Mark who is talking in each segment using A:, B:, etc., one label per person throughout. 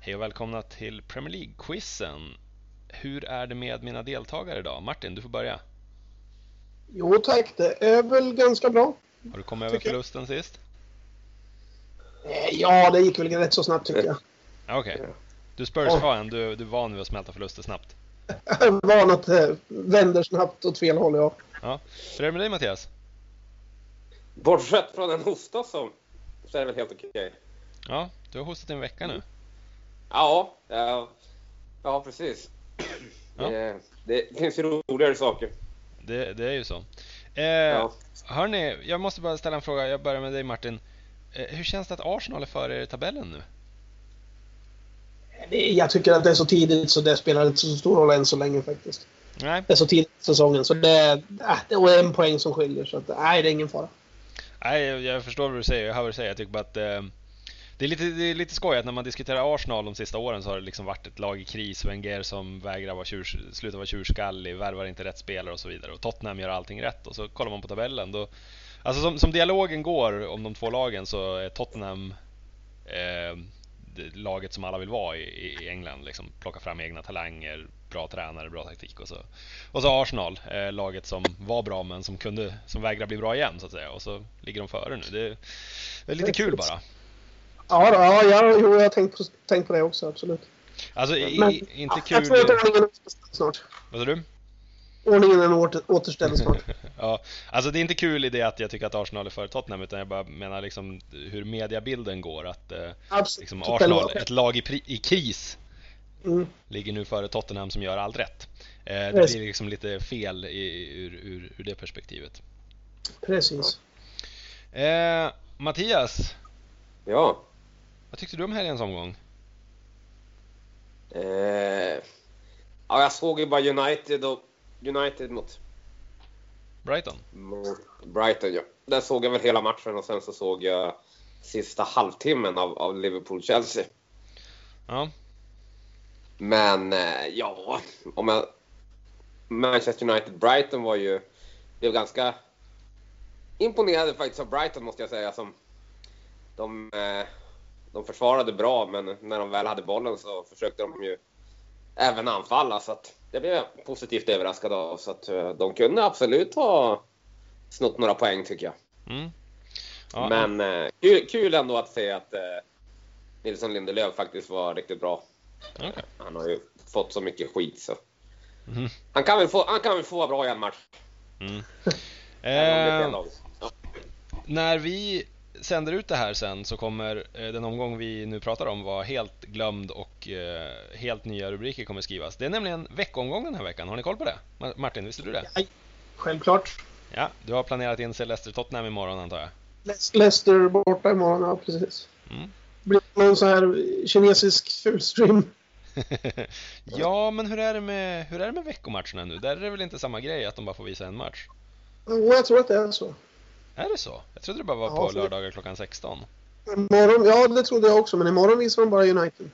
A: Hej och välkomna till Premier League-quizen. Hur är det med mina deltagare idag? Martin, du får börja.
B: Jo tack, det är väl ganska bra.
A: Har du kommit över
B: Tycker jag.
A: förlusten sist?
B: Eh, Ja, det gick väl rätt så snabbt tycker jag.
A: Ja, Ah, Okej. Du Spurs-fan, du, du är van vid att smälta förluster snabbt.
B: Jag är van att det eh, vänder snabbt åt fel håll, ja.
A: Ja. Hur är det med dig Mattias?
C: Bortsett från en hosta så, så är det väl helt okej.
A: Ja, du har hostat i en vecka nu.
C: Ja, ja, ja precis.
A: Ja.
C: Det, det finns ju roligare saker.
A: Det, det är ju så. Eh,
C: Ja.
A: Hörni, jag måste bara ställa en fråga. Jag börjar med dig Martin. Eh, hur känns det att Arsenal är före er i tabellen nu?
B: Eh, Det- Jag tycker att det är så tidigt så det spelar inte så stor roll än så länge faktiskt.
A: Nej,
B: Det är så tidigt i säsongen så det, ah, det är en poäng som skiljer så att, nej, det är ingen fara.
A: Nej, jag, jag förstår vad du säger. Jag hör vad du säger. Jag tycker bara att eh, det, är lite, det är lite skoj att när man diskuterar Arsenal de sista åren så har det liksom varit ett lag i kris. Wenger som vägrar vara tjurs, sluta vara tjurskallig, värvar inte rätt spelare och så vidare. Och Tottenham gör allting rätt och så kollar man på tabellen. Då, alltså som, som dialogen går om de två lagen så är Tottenham eh, det laget som alla vill vara i, i- i England. Liksom, plocka fram egna talanger, bra tränare, bra taktik och så. Och så Arsenal, eh, laget som var bra men som, kunde, som vägrar bli bra igen så att säga. Och så ligger de före nu. Det, det är lite kul bara.
B: Ja, då, ja, ja jo, jag har tänkt på, tänkt på det också, absolut.
A: Alltså i,
B: Men-
A: i- inte
B: Ja, Jag
A: kul...
B: tror att ordningen är återställd snart.
A: Vad sa du?
B: Ordningen är åter, återställd snart.
A: Ja, alltså det är inte kul i det att jag tycker att Arsenal är före Tottenham utan jag bara menar liksom hur mediabilden går att eh,
B: Absolut.
A: liksom
B: Det är
A: Arsenal,
B: lov.
A: ett lag i, pri- i kris,
B: Mm.
A: ligger nu före Tottenham som gör allt rätt. Eh, det
B: Yes.
A: blir liksom lite fel i, ur, ur, ur det perspektivet.
B: Precis.
A: Eh, Mattias,
C: Ja.
A: vad tyckte du om helgens omgång?
C: Eh, ja, jag såg ju bara United och United mot,
A: Brighton?
C: mot Brighton. Ja. Där såg jag väl hela matchen och sen så såg jag sista halvtimmen av, av Liverpool-Chelsea.
A: Ja,
C: Men eh, ja, om jag, Manchester United-Brighton var ju... Blev ganska imponerade faktiskt av Brighton måste jag säga. Som de, eh, de försvarade bra men när de väl hade bollen så försökte de ju även anfalla. Så att det blev jag positivt överraskad av. Så att eh, de kunde absolut ha snott några poäng tycker jag.
A: mm. ja
C: men eh, kul, kul ändå att se att eh, Nilsson Lindelöf faktiskt var riktigt bra.
A: ja, okej.
C: Han har ju fått så mycket skit så.
A: Mhm.
C: Han kan väl få, han kan väl få vara bra i en match. även om det är
A: Eh,
C: fel lag.
A: När vi sänder ut det här sen så kommer eh, den omgång vi nu pratar om vara helt glömd och eh, helt nya rubriker kommer skrivas. Det är nämligen veckomgång den här veckan, har ni koll på det? Ma- Martin, visste du det?
B: Självklart.
A: Ja, du har planerat in Celester-Tottenham imorgon antar jag?
B: Le- Leicester borta imorgon, ja precis.
A: Mm.
B: Blir det någon så här kinesisk fullstream?
A: ja, men hur är, det med, hur är det med veckomatcherna nu? Där är det väl inte samma grej att de bara får visa en match?
B: Jo, jag tror att det är så.
A: Är det så? Jag trodde det bara var
B: Ja,
A: på
B: för-
A: lördagar klockan 16.
B: Imorgon, ja det trodde jag också, men imorgon visar de bara United.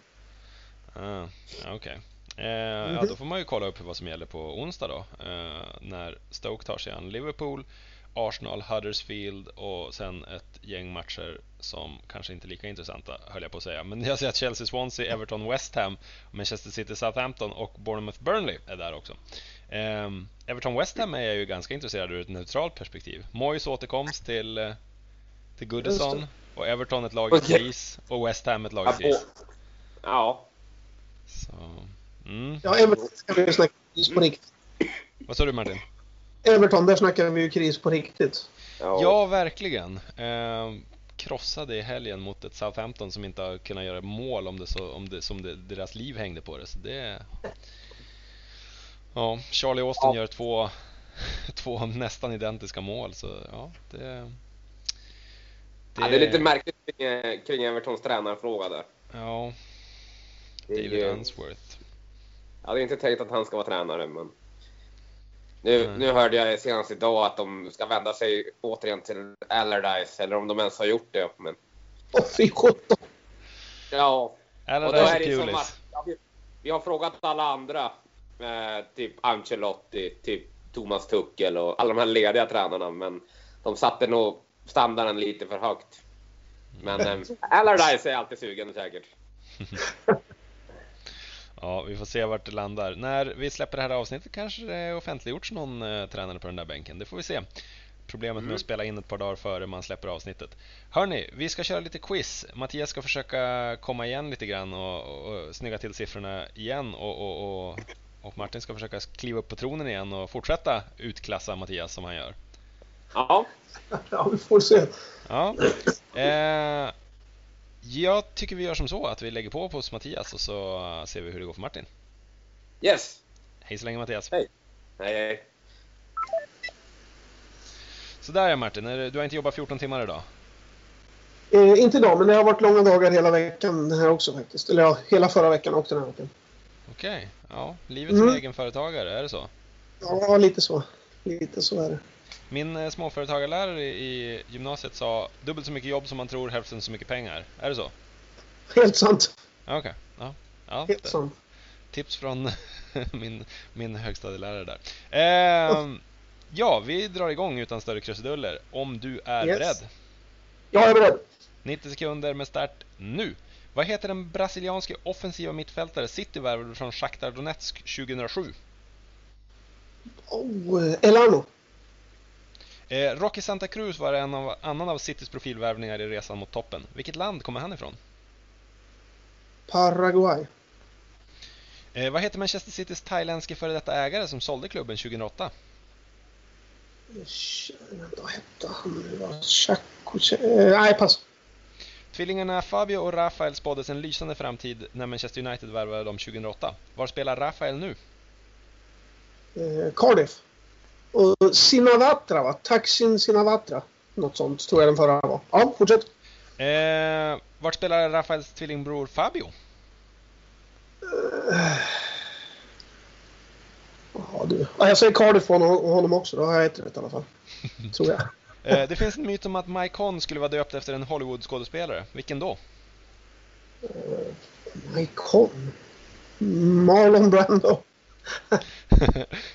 A: Ah, ja, Okej. Eh, ja,
B: Mhm.
A: då får man ju kolla upp vad som gäller på onsdag då. Eh, när Stoke tar sig an Liverpool, Arsenal, Huddersfield och sen ett gäng matcher som kanske inte är lika intressanta höll jag på att säga. Men jag ser att Chelsea, Swansea, Everton, West Ham, Manchester City, Southampton och Bournemouth, Burnley är där också. Ehm, Everton, West Ham är jag ju ganska intresserad ur ett neutralt perspektiv. Moyes återkomst till, eh, till Goodison och Everton ett lag i
C: Okej.
A: kris och West Ham ett lag i
C: Ja,
A: kris.
C: på- Ja,
A: Så, mm.
B: Ja, Everton ska vi ju snacka kris på riktigt.
A: Vad sa du Martin?
B: Everton, där snackar vi ju kris på riktigt.
C: ja.
A: Ja, verkligen. Ehm, krossade i helgen mot ett Southampton som inte har kunnat göra mål om det, så, om det som det, deras liv hängde på det. Så det... Ja, Charlie Austin
C: Ja.
A: gör två, två nästan identiska mål, så ja, det... Det,
C: Ja, det är lite märkligt kring, eh, kring Evertons tränarfråga där.
A: Ja,
C: Det är
A: David
C: ju,
A: Unsworth.
C: jag hade inte tänkt att han ska vara tränare, men... Nu,
A: Nej.
C: nu hörde jag senast idag att de ska vända sig återigen till Allardyce, eller om de ens har gjort det. Men,
B: Åh fy sjutton!
C: ja, Och då
A: Allardyce
C: är
A: och
C: det som
A: Pulis.
C: att, ja, vi, vi har frågat alla andra. Eh, typ Ancelotti, typ Thomas Tuchel och alla de här lediga tränarna. Men de satte nog standarden lite för högt. Men eh, Allardyce är alltid sugen säkert.
A: Ja, vi får se vart det landar. När vi släpper det här avsnittet kanske det offentliggjorts någon eh, tränare på den där bänken. Det får vi se. Problemet med
C: Mm.
A: att spela in ett par dagar före man släpper avsnittet. Hörni, vi ska köra lite quiz. Mattias ska försöka komma igen lite grann och, och, och snygga till siffrorna igen och, och, och, och Martin ska försöka kliva upp på tronen igen och fortsätta utklassa Mattias som han gör.
C: Ja,
B: Ja, vi får se.
A: Ja. Eh, jag tycker vi gör som så att vi lägger på hos Mattias och så ser vi hur det går för Martin.
C: yes.
A: Hej så länge Mattias!
C: Hej. Nej, hej.
A: Sådär ja Martin, är det- du har inte jobbat 14 timmar idag?
B: Eh, inte idag, men det har varit långa dagar hela veckan den här också faktiskt. Eller ja, hela förra veckan och den här veckan.
A: Okej, ja, livet som
B: Mm.
A: egenföretagare, är det så?
B: Ja, lite så. Lite så är det.
A: Min eh, småföretagarlärare i gymnasiet sa dubbelt så mycket jobb som man tror, hälften så mycket pengar. Är det så?
B: Helt sant.
A: Ja, Okej, ja. ja
B: Helt
A: det-
B: sant.
A: tips från min, min högstadielärare där. Ehm, ja, vi drar igång utan större krusiduller om du är
B: Yes.
A: beredd.
B: Jag är beredd.
A: 90 sekunder med start nu. Vad heter den brasilianske offensiva mittfältare City värvade från Shakhtar Donetsk 2007?
B: Oh, eh, Elano.
A: Eh, Rocky Santa Cruz var en av, annan av Citys profilvärvningar i resan mot toppen. Vilket land kommer han ifrån?
B: Paraguay.
A: Eh, vad heter Manchester Citys thailändske före detta ägare som sålde klubben 2008?
B: Sh- Vänta, vad hette han nu? då? Chaco... Ch- eh, Nej, pass.
A: Tvillingarna Fabio och Rafael spåddes en lysande framtid när Manchester United värvade dem 2008. Var spelar Rafael nu?
B: Eh, Cardiff. Och Sinavatra, va? Taksin Sinavatra. Något sånt tror jag den förra var. Ja, fortsätt.
A: Eh, vart spelar Rafaels tvillingbror Fabio?
B: Ja, du. Ja, jag säger Cardiff på honom, honom också. Då har jag ett rätt i alla fall. Tror jag.
A: Eh, det finns en myt om att Mike Conn skulle vara döpt efter en Hollywood-skådespelare. Vilken då?
B: Icon. Marlon Brando.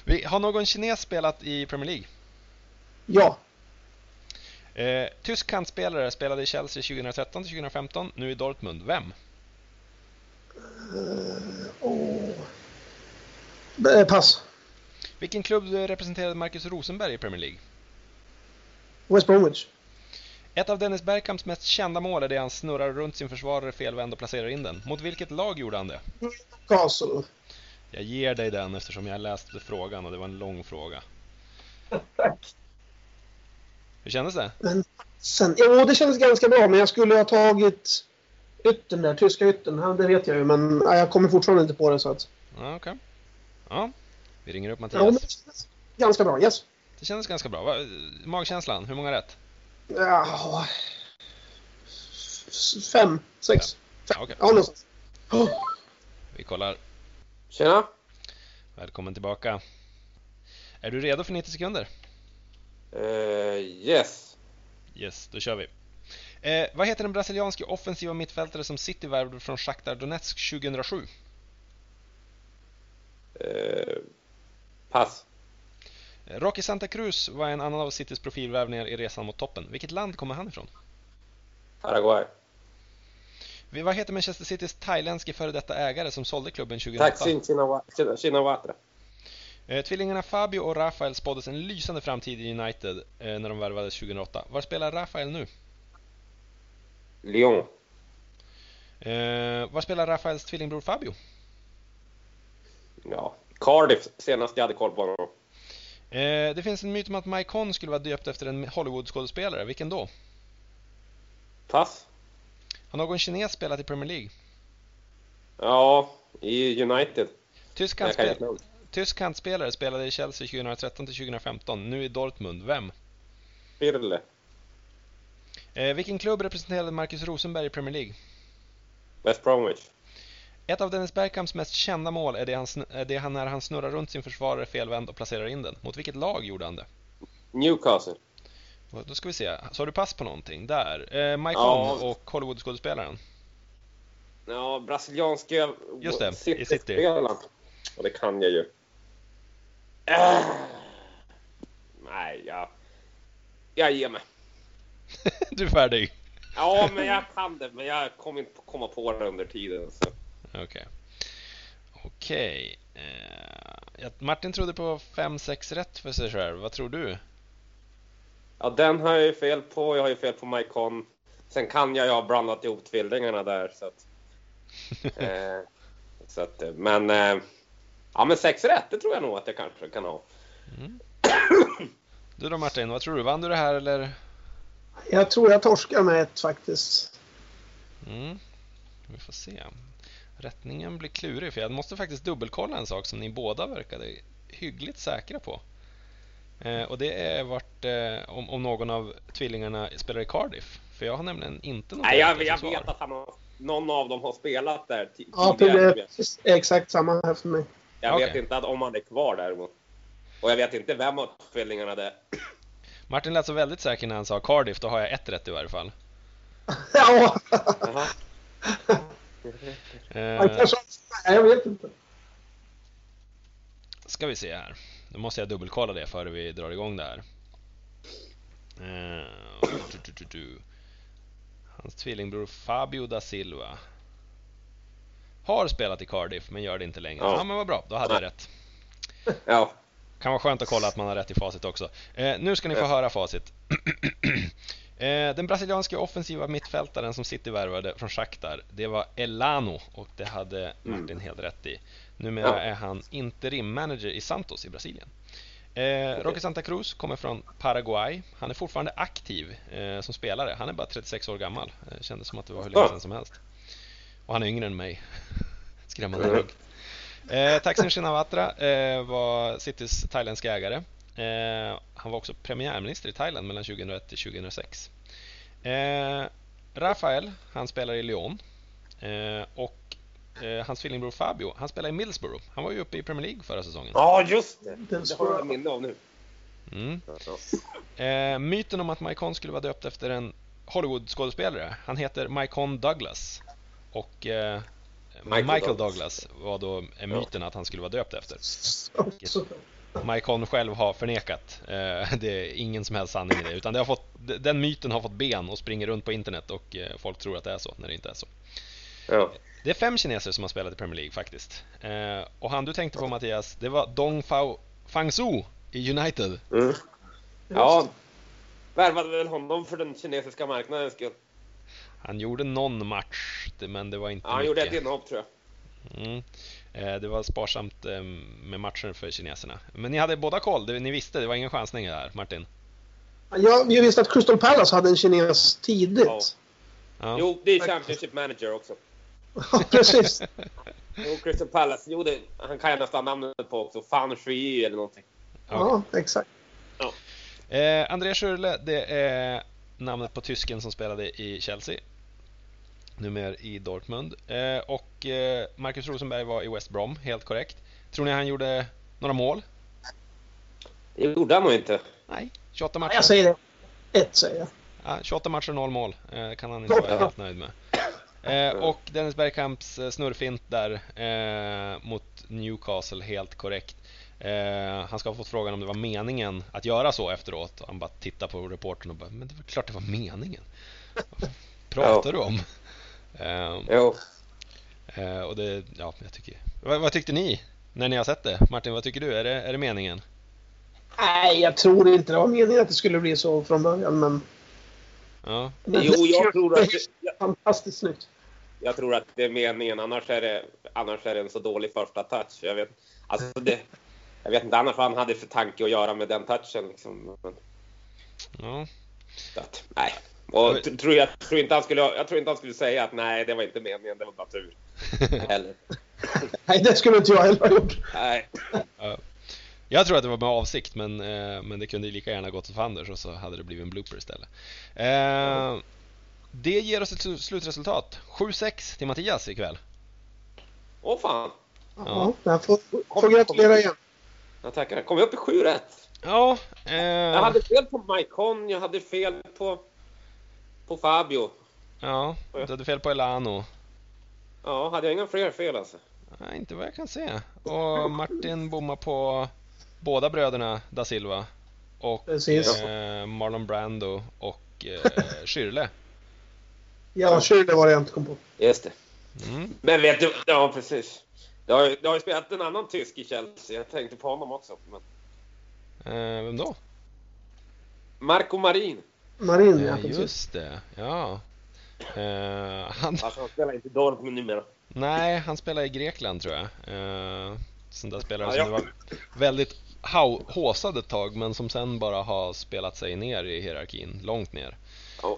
A: Vi, har någon kines spelat i Premier League?
B: Ja.
A: Eh, tysk kantspelare spelade i Chelsea 2013 till 2015, nu i Dortmund. Vem?
B: Åh. Eh, Pass.
A: Vilken klubb representerade Marcus Rosenberg i Premier League?
B: West Bromwich.
A: Ett av Dennis Bergkamps mest kända mål är det han snurrar runt sin försvarare felvänd och placerar in den. Mot vilket lag gjorde han det?
B: Castle.
A: Jag ger dig den eftersom jag läste frågan och det var en lång fråga.
B: Tack.
A: Hur kändes det?
B: Sen, jo, det kändes ganska bra, men jag skulle ha tagit yttern där. Tyska yttern. Ja, Det vet jag ju, men ja, jag kommer fortfarande inte på det. Så att,
A: Ja, okej. Ja, vi ringer upp
B: ja, men
A: Mattias.
B: det kändes ganska bra. Yes.
A: Det kändes ganska bra. Va? Magkänslan, hur många rätt?
B: Ja. f- Fem, sex.
A: Ja, okej.
B: Ja, någonstans. Oh,
A: Vi kollar.
C: Tjena.
A: Välkommen tillbaka. Är du redo för 90 sekunder?
C: Eh, yes.
A: Yes, då kör vi. Eh, vad heter den brasilianske offensiva mittfältare som City värvade från Shakhtar Donetsk 2007?
C: Eh, pass.
A: Eh, Rocky Santa Cruz var en annan av Citys profilvärvningar i resan mot toppen. Vilket land kommer han ifrån?
C: Paraguay.
A: Vi- Vad heter Manchester Citys thailändske före detta ägare som sålde klubben 2008?
C: Taksin Shinawatra.
A: Eh, Tvillingarna Fabio och Rafael spåddes en lysande framtid i United eh, när de värvades 2008. Var spelar Rafael nu?
C: Lyon.
A: Eh, var spelar Rafaels tvillingbror Fabio?
C: Ja. Cardiff senast jag hade koll på honom.
A: Eh, det finns en myt om att Mike Conn skulle vara döpt efter en Hollywood-skådespelare. Vilken då?
C: Pass.
A: Har någon kines spelat i Premier League?
C: Ja, i United.
A: Tysk,
C: Jag kan
A: kantspel-
C: inte namn.
A: Tysk kantspelare spelade i Chelsea 2013 till 2015, nu i Dortmund. Vem?
C: Pirle.
A: Eh, vilken klubb representerade Marcus Rosenberg i Premier League?
C: West Bromwich.
A: Ett av Dennis Bergkamps mest kända mål är det, han sn- är det han när han snurrar runt sin försvarare felvänd och placerar in den. Mot vilket lag gjorde han det?
C: Newcastle.
A: Och Då ska vi se, så har du pass på någonting där? Eh, Mike
C: Ja.
A: Conn och Hollywood-skådespelaren.
C: Ja, brasilianska...
A: Just det, i City.
C: City-spelaren. Och det kan jag ju. Ah. Nej, jag... Jag ger mig.
A: du är färdig?
C: Ja, men jag kan det. Men jag kommer inte komma på det under tiden. Så.
A: Okej. Okej. Eh, ja, Martin trodde på 5-6 rätt för sig själv. Vad tror du?
C: Ja, den har jag ju fel på. Jag har ju fel på Mycon. Sen kan jag ju ha blandat ihop tvillingarna där. Så att, eh, så att, eh, men, eh, ja, men sex rätt, det tror jag nog att jag kanske kan ha.
A: Du då Martin, vad tror du? Vann du det här eller?
B: Jag tror jag torskar med ett faktiskt.
A: Mm. Vi får se. Rättningen blir klurig för jag måste faktiskt dubbelkolla en sak som ni båda verkade hyggligt säkra på. Eh, och det är vart, eh, om, om någon av tvillingarna spelar i Cardiff. För jag har nämligen inte något
C: Nej, jag,
A: riktigt
C: jag
A: svar.
C: vet att han har, någon av dem har spelat där ti-
B: Ja, det
C: tidigare.
B: är exakt samma här för mig.
C: Jag vet
A: Okej.
C: inte att om han är kvar däremot. Och jag vet inte vem av tvillingarna det är.
A: Martin lät så väldigt säker när han sa Cardiff, då har jag ett rätt i varje fall.
B: Ja,
C: Jaha.
B: han
A: Eh,
B: kanske... Nej, jag vet inte.
A: ska vi se här. Då måste jag dubbelkolla det före vi drar igång det här. Eh, du, du, du, du. Hans tvillingbror Fabio da Silva har spelat i Cardiff men gör det inte längre.
C: Ja.
A: Ja, men vad bra, då hade jag rätt.
C: Ja.
A: Kan vara skönt att kolla att man har rätt i facit också. Eh, nu ska ni få
C: Ja.
A: höra facit. eh, den brasilianska offensiva mittfältaren som City värvade från Shakhtar, det var Elano och det hade Martin helt rätt i. Numera
C: Mm. Ja.
A: är han interimmanager i Santos i Brasilien. Eh, Roque Santa Cruz kommer från Paraguay. Han är fortfarande aktiv eh, som spelare. Han är bara 36 år gammal. Eh, kändes som att det var hur länge
C: Ja.
A: sedan som helst. Och han är yngre än mig. Skrämmande nog. Eh, Thaksin Shinawatra eh, var Citys thailändska ägare. Eh, han var också premiärminister i Thailand mellan 2001 till 2006. Eh, Rafael, han spelar i Lyon. Eh, och eh, hans tvillingbror Fabio, han spelar i Middlesbrough. Han var ju uppe i Premier League förra säsongen.
C: Ja, just det!
B: Den
C: Det har jag
B: spår-
C: minne av nu.
A: Mm. Eh, myten om att Mycon skulle vara döpt efter en Hollywood-skådespelare. Han heter Mycon Douglas. Och eh,
C: Michael
A: Michael,
C: Douglas.
A: Douglas. var då eh, myten att han skulle vara döpt efter.
B: Så-
A: Mycon själv har förnekat. Eh, det är ingen som helst sanning i det. Utan det har fått, d- den myten har fått ben och springer runt på internet och eh, folk tror att det är så när det inte är så.
C: Ja.
A: Det är fem kineser som har spelat i Premier League faktiskt. Eh, och han du tänkte på Mattias, det var Dong Fao Fangsu i United.
C: Mm. ja. Värvade väl honom för den kinesiska marknaden skull.
A: Han gjorde någon match, det- men det var inte
C: Ja, han
A: mycket.
C: gjorde ett inhopp tror jag.
A: Mm. Eh, Det var sparsamt eh, med matcher för kineserna. Men ni hade båda koll, det- ni visste, det var ingen chansning där Martin.
B: Ja, vi visste att Crystal Palace hade en kines tidigt.
C: Ja.
B: Ja,
A: Ja.
C: Jo, det är Championship Manager också.
B: precis.
C: Jo, Crystal Palace. Jo, det, han kan jag nästan namnet på också. Fan Shui eller någonting.
B: Ja, exakt.
A: Eh, André Schürrle, det är namnet på tysken som spelade i Chelsea. Numera i Dortmund. Eh, och eh, Marcus Rosenberg var i West Brom, helt korrekt. Tror ni han gjorde några mål?
C: Det gjorde han nog inte.
A: Nej. 28
B: Ja,
A: matcher,
B: Jag säger det. Ett säger jag.
A: ja, 28 matcher noll mål. Eh, kan han inte vara helt nöjd med. Eh, och Dennis Bergkamps eh, snurrfint där eh, mot Newcastle, helt korrekt. Eh, han ska ha fått frågan om det var meningen att göra så efteråt och han bara tittar på reportern och bara ”men det var klart det var meningen”. Vad pratar du om? Eh,
C: Jo.
A: eh, och det, ja, jag tycker... vad, vad tyckte ni när ni har sett det? Martin, vad tycker du? Är det, är det meningen?
B: Nej, jag tror inte det var meningen att det skulle bli så från början, men...
A: Ja,
B: men
C: Jo, jag tror att,
B: Fantastiskt snyggt.
C: jag tror att det är meningen. Annars är det, annars är det en så dålig första touch. Jag vet, alltså det, jag vet inte annars vad han hade för tanke att göra med den touchen. Liksom. Men,
A: ja.
C: så att, nej. Och, t- tror jag, tror inte han skulle, jag tror inte han skulle säga att nej, det var inte meningen. Det var bara tur. Eller,
B: Nej, det skulle inte jag heller ha gjort.
C: nej.
A: Jag tror att det var med avsikt men, eh, men det kunde ju lika gärna gått åt fanders och så hade det blivit en blooper istället. Eh, det ger oss ett slu- slutresultat. 7-6 till Mattias ikväll.
C: Åh fan.
B: Ja, jag får, får gratulera igen.
C: Jag tackar. Kom vi upp i sju rätt?
A: Ja,
C: Jag
A: eh,
C: hade fel på Maikon, jag hade fel på, på Fabio.
A: ja, du hade fel på Elano.
C: Ja, hade jag inga fler fel alltså?
A: Nej, inte vad jag kan se. Och Martin bommar på båda bröderna da Silva och
B: Precis.
A: eh, Marlon Brando och eh, Schürrle.
B: Ja, Schürrle var det jag inte kom på.
C: Just det.
A: Mm.
C: Men vet du, ja precis. Jag har, ju- jag har ju spelat en annan tysk i Chelsea. Jag tänkte på honom också. Men...
A: Eh, vem då?
C: Marco Marin.
B: Marin
A: Eh,
B: ja, precis.
A: just det, ja. Eh, han,
C: Alltså han spelar inte dåligt men numera.
A: nej, han spelar i Grekland tror jag. Eh, sån där spelare
C: Ja,
A: som
C: jag-
A: det var väldigt hau- håsad ett tag men som sen bara har spelat sig ner i hierarkin, långt ner.
C: Ja.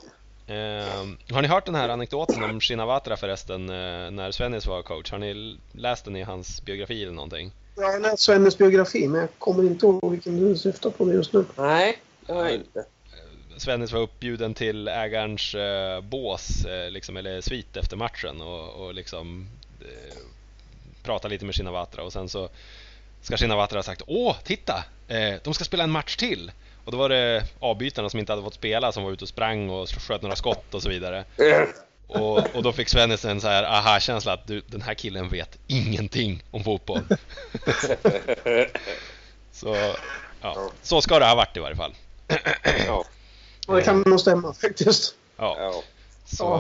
A: Ehm, har ni hört den här anekdoten om Shinawatra förresten, eh, när Svennis var coach? Har ni l- läst den i hans biografi eller någonting?
B: Jag har läst Svennes biografi men jag kommer inte ihåg vilken du syftar på just nu.
C: Nej, det har jag inte.
A: Svennis var uppbjuden till ägarens eh, bås, eh, liksom, eller svit efter matchen och, och liksom eh, prata lite med Shinawatra och sen så ska Shinawatra ha sagt Åh, titta! Eh, de ska spela en match till! Och då var det avbytarna som inte hade fått spela som var ute och sprang och sköt några skott och så vidare. Och, och då fick Svennis en så här aha-känsla att du, den här killen vet ingenting om fotboll. Så, ja. så ska det ha varit i varje fall.
C: ja.
B: Och det kan nog stämma faktiskt.
A: Ja.
C: ja.
A: Så,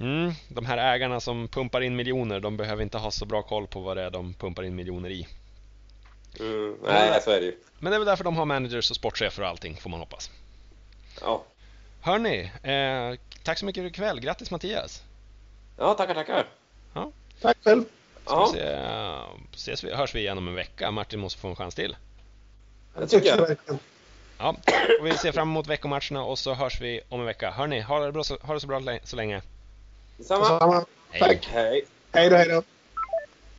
A: mm, de här ägarna som pumpar in miljoner, de behöver inte ha så bra koll på vad det är de pumpar in miljoner i.
C: Mm. Nej, så är det ju.
A: Men det är väl därför de har managers och sportchefer och allting, får man hoppas.
C: Ja,
A: Hörni, eh, tack så mycket för ikväll. Grattis Mattias!
C: ja tackar, tackar.
B: Tack själv.
A: Ska
C: Ja,
A: vi se, eh, ses vi, hörs vi igen om en vecka. Martin måste få en chans till.
C: det tycker jag.
B: verkligen.
A: Ja, och vi ser fram emot veckomatcherna och så hörs vi om en vecka. Hörni, ha det, bra, så- ha det så bra lä- så länge.
C: Detsamma.
B: Detsamma.
A: Hej!
B: Tack.
C: Hej.
B: Hej då, hej då.